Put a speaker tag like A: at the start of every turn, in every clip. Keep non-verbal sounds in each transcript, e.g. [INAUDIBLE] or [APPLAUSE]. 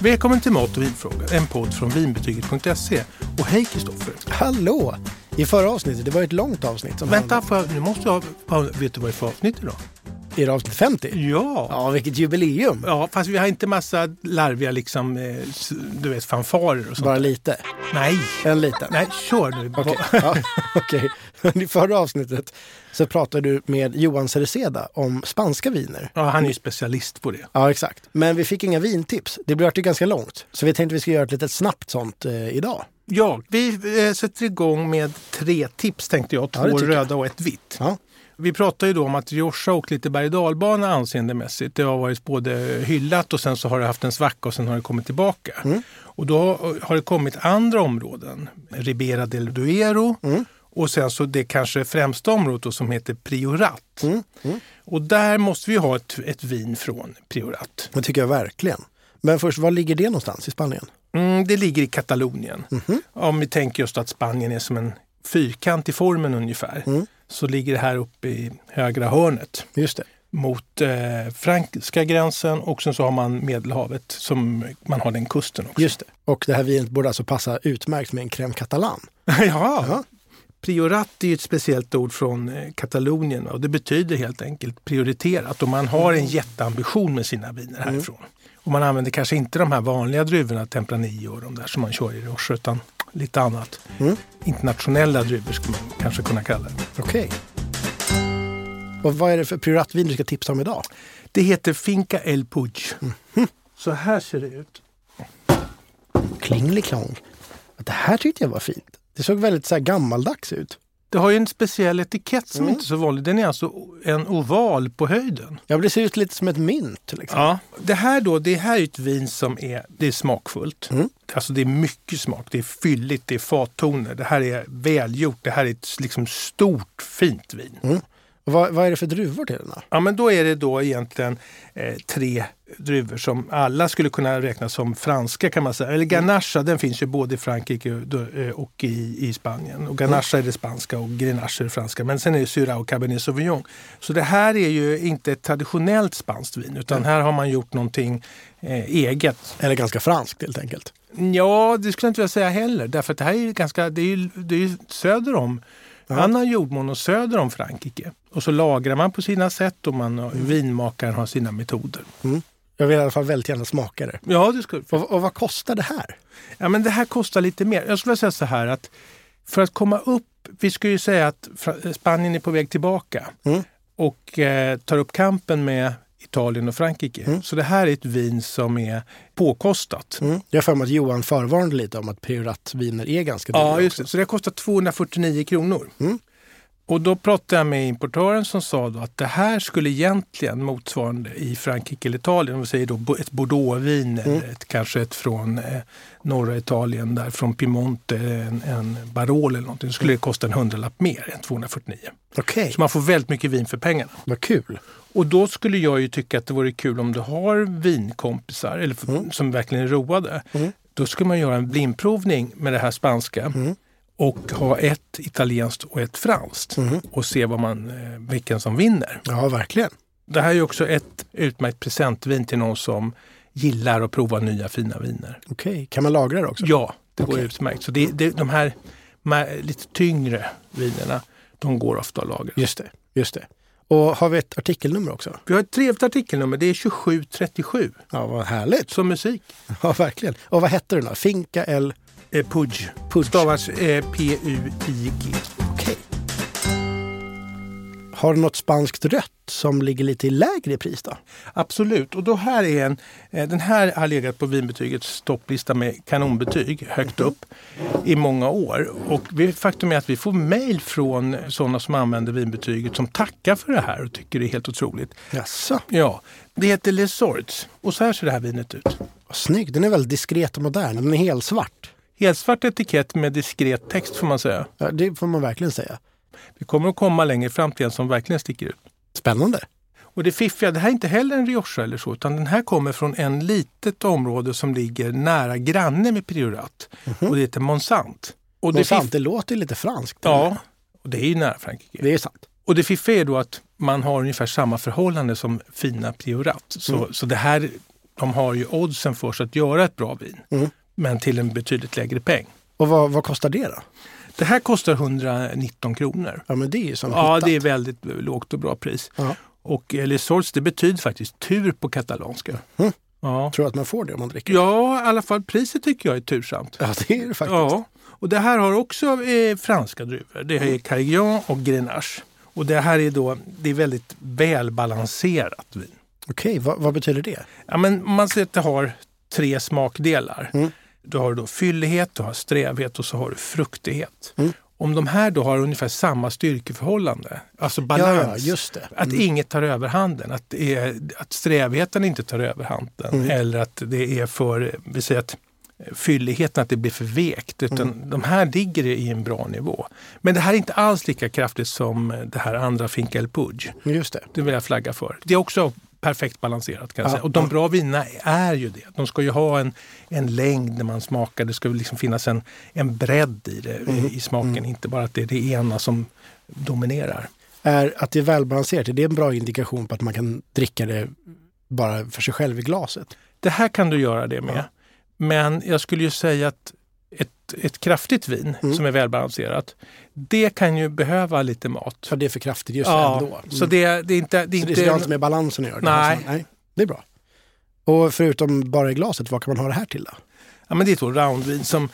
A: Välkommen till Mat och vinfrågor, en podd från vinbetyget.se. Och hej Kristoffer!
B: Hallå! I förra avsnittet, det var ett långt avsnitt. Som
A: Vänta,
B: handlade-
A: får jag, nu måste jag... ja, Vet du vad det är för avsnitt idag?
B: Är det avsnitt 50?
A: Ja!
B: Ja, vilket jubileum.
A: Ja, fast vi har inte massa larviga liksom, eh, s- du vet, fanfarer och sånt.
B: Bara lite.
A: Nej!
B: En liten.
A: Nej, kör nu.
B: Okej. [LAUGHS] Ja, okej. Men I förra avsnittet så pratade du med Johan Cereceda om spanska viner.
A: Ja, han är ju specialist på det.
B: Ja, exakt. Men vi fick inga vintips. Det blev ju ganska långt. Så vi tänkte vi skulle göra ett litet snabbt sånt eh, idag.
A: Ja, vi eh, sätter igång med tre tips tänkte jag.
B: Ja,
A: Två
B: det tycker jag.
A: röda och ett vitt.
B: Ja.
A: Vi pratar ju då om att Joshua åkt lite berg och dalbana anseendemässigt. Det har varit både hyllat och sen så har det haft en svacka och sen har det kommit tillbaka. Och då har det kommit andra områden. Ribera del Duero och sen så det kanske främsta området då som heter Priorat. Och där måste vi ha ett, ett vin från Priorat.
B: Det tycker jag verkligen. Men först, var ligger det någonstans i Spanien?
A: Mm, det ligger i Katalonien. Om vi tänker just att Spanien är som en fyrkant i formen ungefär. Så ligger det här uppe i högra hörnet
B: Just det.
A: mot eh, franska gränsen och sen så har man Medelhavet som man har den kusten också.
B: Just det. Och det här vinet borde alltså passa utmärkt med en crème catalan.
A: ja.
B: [LAUGHS] Ja.
A: Priorat är ju ett speciellt ord från eh, Katalonien va, och det betyder helt enkelt prioriterat och man har en jätteambition med sina viner härifrån. Och man använder kanske inte de här vanliga druvorna, Tempranillo och de där som man kör i Roche utan lite annat. Internationella druvor skulle man kanske kunna kalla det.
B: Okej. Och vad är det för prioratvin du ska tipsa om idag?
A: Det heter Finca El Puig. Så här ser det ut.
B: Klingeliklong. Det här tyckte jag var fint. Det såg väldigt så här gammaldags ut.
A: Det har ju en speciell etikett som inte är så vanlig. Den är alltså o- en oval på höjden.
B: Ja, det ser ut lite som ett mynt. Liksom.
A: Ja. Det här då, det här är ett vin som är, det är smakfullt. Alltså det är mycket smak, det är fylligt, det är fattoner. Det här är välgjort, det här är ett liksom stort fint vin.
B: Och Vad, vad är det för druvor till den här?
A: Ja men då är det då egentligen eh, tre druvor som alla skulle kunna räknas som franska kan man säga. Eller Ganache, den finns ju både i Frankrike och, då, eh, och i, i Spanien. Och Ganache är det spanska och Grenache är det franska. Men sen är det Syrah och Cabernet Sauvignon. Så det här är ju inte ett traditionellt spanskt vin utan här har man gjort någonting eh, eget.
B: Eller ganska franskt helt enkelt.
A: Ja, det skulle jag inte vilja säga heller. Därför att det här är ju ganska, det är ju, det är ju söder om, annan jordmån och söder om Frankrike. Och så lagrar man på sina sätt och man, har- vinmakaren har sina metoder.
B: Jag vill i alla fall väldigt gärna smaka det.
A: Ja, det skulle
B: Och, och vad kostar det här?
A: ja, men Det här kostar lite mer. Jag skulle vilja säga så här att för att komma upp, vi skulle ju säga att Fra- Spanien är på väg tillbaka och eh, tar upp kampen med Italien och Frankrike. Så det här är ett vin som är påkostat.
B: Jag har för mig att Johan förvarnade lite om att prioratviner är ganska dyra.
A: Ja, just
B: också.
A: det. Så det kostar 249 kronor. Och då pratade jag med importören som sa då att det här skulle egentligen motsvarande i Frankrike eller Italien, om vi säger då bo- ett Bordeauxvin eller ett, kanske ett från eh, norra Italien, där från Piemonte, en, en Barolo eller någonting, skulle det kosta en hundralapp mer än 249.
B: Okej,
A: Så man får väldigt mycket vin för pengarna.
B: vad kul.
A: Och då skulle jag ju tycka att det vore kul om du har vinkompisar eller f- som verkligen är roade. Då skulle man göra en blindprovning med det här spanska och ha ett italienskt och ett franskt
B: Mm.
A: och se vad man, eh, vilken som vinner.
B: Mm-hmm. Ja, verkligen.
A: Det här är ju också ett utmärkt presentvin till någon som gillar att prova nya fina viner.
B: Okej, kan man lagra det också?
A: Ja, det går
B: Okej.
A: utmärkt. Så det, det, de här ma- lite tyngre vinerna, de går ofta att lagra.
B: Just det, just det. Och har vi ett artikelnummer också?
A: Vi har ett trevligt artikelnummer, det är 2737,
B: Ja, vad härligt.
A: som musik.
B: [LAUGHS] Ja, verkligen. Och vad hette den då? Finca El...
A: Eh, Pudge.
B: Pudge.
A: Stavas eh, P-U-I-G.
B: Okej. Har du något spanskt rött som ligger lite i lägre pris då?
A: Absolut. Och då här är en, eh, den här har legat på vinbetygets topplista med kanonbetyg högt upp i många år. Och vi- faktum är att vi får mejl från sådana som använder vinbetyget som tackar för det här och tycker det är helt otroligt.
B: Jaså?
A: Ja, det heter Les Sorts och så här ser det här vinet ut.
B: Vad snygg. Den är väldigt diskret och modern. Den är helt svart.
A: Helsvart etikett med diskret text får man säga.
B: Ja, det får man verkligen säga.
A: Vi kommer att komma längre fram till en som verkligen sticker ut.
B: Spännande.
A: Och det fiffiga, det här är inte heller en Rioja eller så, utan den här kommer från en litet område som ligger nära granne med Priorat.
B: Mhm.
A: Och det heter Monsant. Och
B: Det,
A: det
B: sant,
A: fiff-
B: det låter lite franskt.
A: Ja, och det är ju nära Frankrike.
B: Det är sant.
A: Och det
B: Mm.
A: fiffiga är då att man har ungefär samma förhållande som fina Priorat. Så, så det här de har ju oddsen för sig att göra ett bra vin,
B: Mm.
A: men till en betydligt lägre peng.
B: Och vad, vad kostar det då?
A: Det här kostar 119 kronor.
B: Ja, men det är ju som
A: Ja,
B: hittat.
A: det är väldigt lågt och bra pris.
B: Ja.
A: Och El Sorts, det betyder faktiskt tur på katalanska.
B: Mm.
A: Ja.
B: Tror du att man får det om man dricker?
A: ja, i alla fall priset tycker jag är tursamt.
B: Ja, det är det faktiskt.
A: Ja, och det här har också eh, franska druvor. Det
B: Mm.
A: här är Carignan och Grenache. Och det här är då, det är väldigt välbalanserat vin.
B: Okej, vad, vad betyder det?
A: Ja, men man ser att det har tre smakdelar.
B: Mm.
A: Du har då fyllighet, du har strävhet och så har du fruktighet.
B: Mm.
A: Om de här då har ungefär samma styrkeförhållande, alltså balans.
B: Ja, just det. Mm,
A: Att inget tar över handen, att, det är, att strävheten inte tar över handen. Eller att det är för, vi säger att eh, fylligheten, att det blir för vekt. Utan de här ligger i en bra nivå. Men det här är inte alls lika kraftigt som det här andra Finca El Pudge.
B: Just det.
A: Det vill jag flagga för. Det är också perfekt balanserat kan jag
B: Ja,
A: säga. Och de
B: ja.
A: bra vinerna är ju det. De ska ju ha en, en längd när man smakar. Det ska ju liksom finnas en, en bredd i, det, i smaken. Inte bara att det är det ena som dominerar.
B: Är att det är välbalanserat, är det en bra indikation på att man kan dricka det bara för sig själv i glaset?
A: Det här kan du göra det med.
B: Ja.
A: Men jag skulle ju säga att ett, ett kraftigt vin
B: Mm.
A: som är välbalanserat, det kan ju behöva lite mat.
B: För det är för kraftigt just ändå. Mm.
A: Så det, det är inte... Det är
B: Så
A: inte
B: det har inte med balansen att göra? det
A: Nej.
B: här som- Nej. Det är bra. Och förutom bara i glaset, vad kan man ha det här till då?
A: Ja, men det är ett allroundvin som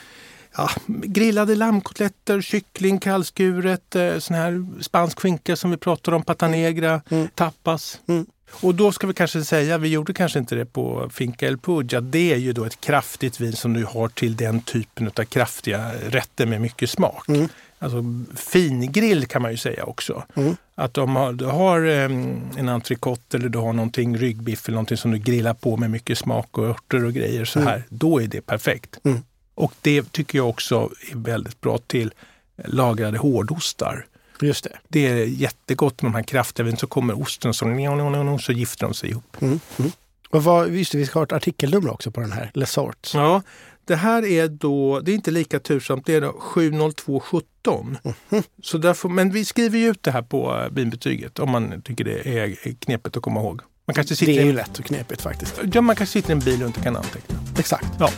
A: ja, grillade lammkotletter, kyckling, kallskuret, eh, sån här spansk skinka som vi pratade om, patanegra,
B: Mm.
A: tapas.
B: Mm.
A: Och då ska vi kanske säga, vi gjorde kanske inte det på Finca El Pugge, att det är ju då ett kraftigt vin som du har till den typen av kraftiga rätter med mycket smak.
B: Mm.
A: Alltså fingrill kan man ju säga också.
B: Mm.
A: Att om har- du har eh, en entrecote eller du har någonting, ryggbiff eller någonting som du grillar på med mycket smak och örter och grejer så här, då är det perfekt.
B: Mm.
A: Och det tycker jag också är väldigt bra till lagrade hårdostar.
B: Just det.
A: Det är jättegott med de här kraftiga vinerna. Så kommer osten så, så gifter de sig ihop.
B: Mm. Mm. Och vad, just det, vi ska ha ett artikelnummer också på den här, Les Sorts.
A: Ja, det här är då, det är inte lika tursamt, det är då 70217.
B: Mhm.
A: Så därför, men vi skriver ju ut det här på eh, vinbetyget om man tycker det är knepigt att komma ihåg. Man kanske sitter,
B: Det är
A: i,
B: ju
A: en-
B: lätt och knepigt faktiskt.
A: ja, man kanske sitter i en bil och inte kan anteckna.
B: Exakt.
A: Ja.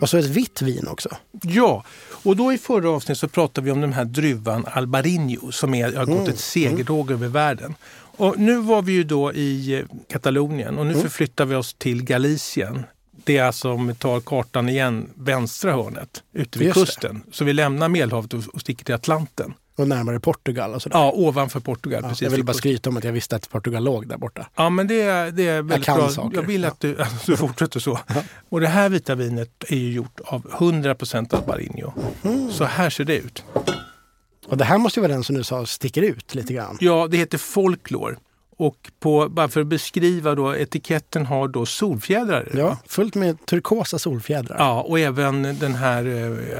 B: Och så ett vitt vin också.
A: Ja, och då i förra avsnittet så pratade vi om den här druvan Albarino som är, har
B: Mm,
A: gått ett segertåg över världen. Och nu var vi ju då i eh, Katalonien
B: Mm.
A: och nu förflyttar vi oss till Galicien. Det är alltså, om vi tar kartan igen, vänstra hörnet ute vid
B: Just det.
A: kusten. Så vi lämnar Medelhavet och och sticker till Atlanten.
B: Och närmare Portugal och sådär.
A: Ja, ovanför Portugal.
B: Ja,
A: precis
B: jag ville
A: vid
B: bara
A: kusten.
B: skryta om att jag visste att Portugal låg där borta.
A: Ja, men det är, det är väldigt
B: kan
A: bra.
B: saker.
A: Jag vill att du, [LAUGHS] att du fortsätter så. Och det här vita vinet är ju gjort av 100% Albarino.
B: Mm.
A: Så här ser det ut.
B: Och det här måste ju vara den som du sa sticker ut lite grann.
A: Ja, det heter folklor. Och på, bara för att beskriva då, etiketten har då solfjädrar.
B: Ja, fullt med turkosa solfjädrar.
A: Ja, och även den här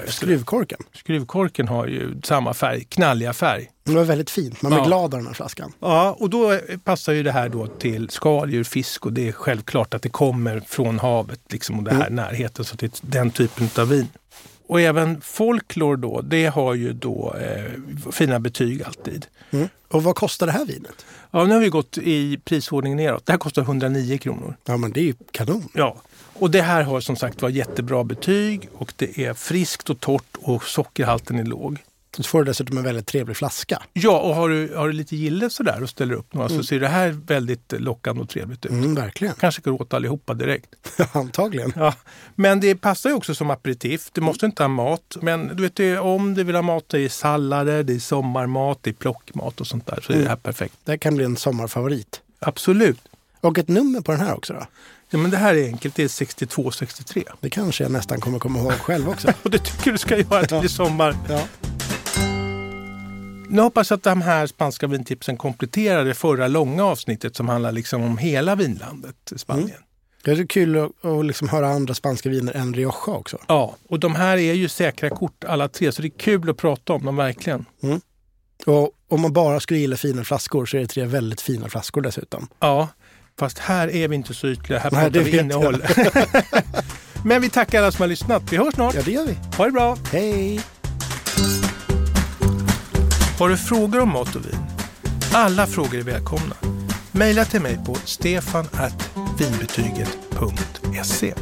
A: eh,
B: Skruvkorken.
A: skruvkorken har ju samma färg, knalliga färg.
B: Det var väldigt fint. Man blir
A: Ja.
B: glad av den här flaskan.
A: Ja, och då eh, passar ju det här då till skaldjur, fisk och det är självklart att det kommer från havet liksom och den här närheten. Så till den typen av vin. Och även folklor då, det har ju då eh, fina betyg alltid.
B: Mm. Och vad kostar det här vinet?
A: Ja, nu har vi gått i prisordning neråt. Det här kostar 109 kronor.
B: Ja, men det är ju kanon.
A: Ja, och det här har som sagt var jättebra betyg och det är friskt och torrt och sockerhalten är låg.
B: Så får du dessutom en väldigt trevlig flaska.
A: Ja, och har du, har du lite gille sådär och ställer upp några så ser det här väldigt lockande och trevligt ut.
B: Mm, verkligen. [LAUGHS]
A: Kanske går åt allihopa direkt.
B: Antagligen.
A: Ja. Men det passar ju också som aperitif. Du måste inte ha mat. Men du vet, det är, om du vill ha mat, det är sallader, det är sommarmat, det är plockmat och sånt där. Så är det här perfekt.
B: Det här kan bli en sommarfavorit.
A: Absolut.
B: Och ett nummer på den här också då.
A: Ja, men det här är enkelt. Det är 62-63.
B: Det kanske jag nästan kommer komma ihåg själv också.
A: Och det tycker du ska göra till
B: Ja.
A: i sommar.
B: Ja.
A: Nu hoppas jag att de här spanska vintipsen kompletterar det förra långa avsnittet som handlar liksom om hela vinlandet Spanien.
B: Det är kul att, att liksom höra andra spanska viner än Rioja också.
A: Ja, och de här är ju säkra kort alla tre så det är kul att prata om dem verkligen.
B: Och om man bara skulle gilla fina flaskor så är det tre väldigt fina flaskor dessutom.
A: Ja, fast här är vi inte så ytliga. Här
B: Nej,
A: pratar
B: det
A: vi
B: vet
A: innehåll. [LAUGHS] Men vi tackar alla som har lyssnat. Vi hörs snart.
B: Ja, det gör vi.
A: Ha det bra!
B: Hej!
A: Har du frågor om mat och vin? Alla frågor är välkomna. Maila till mig på stefan finbetyget.se.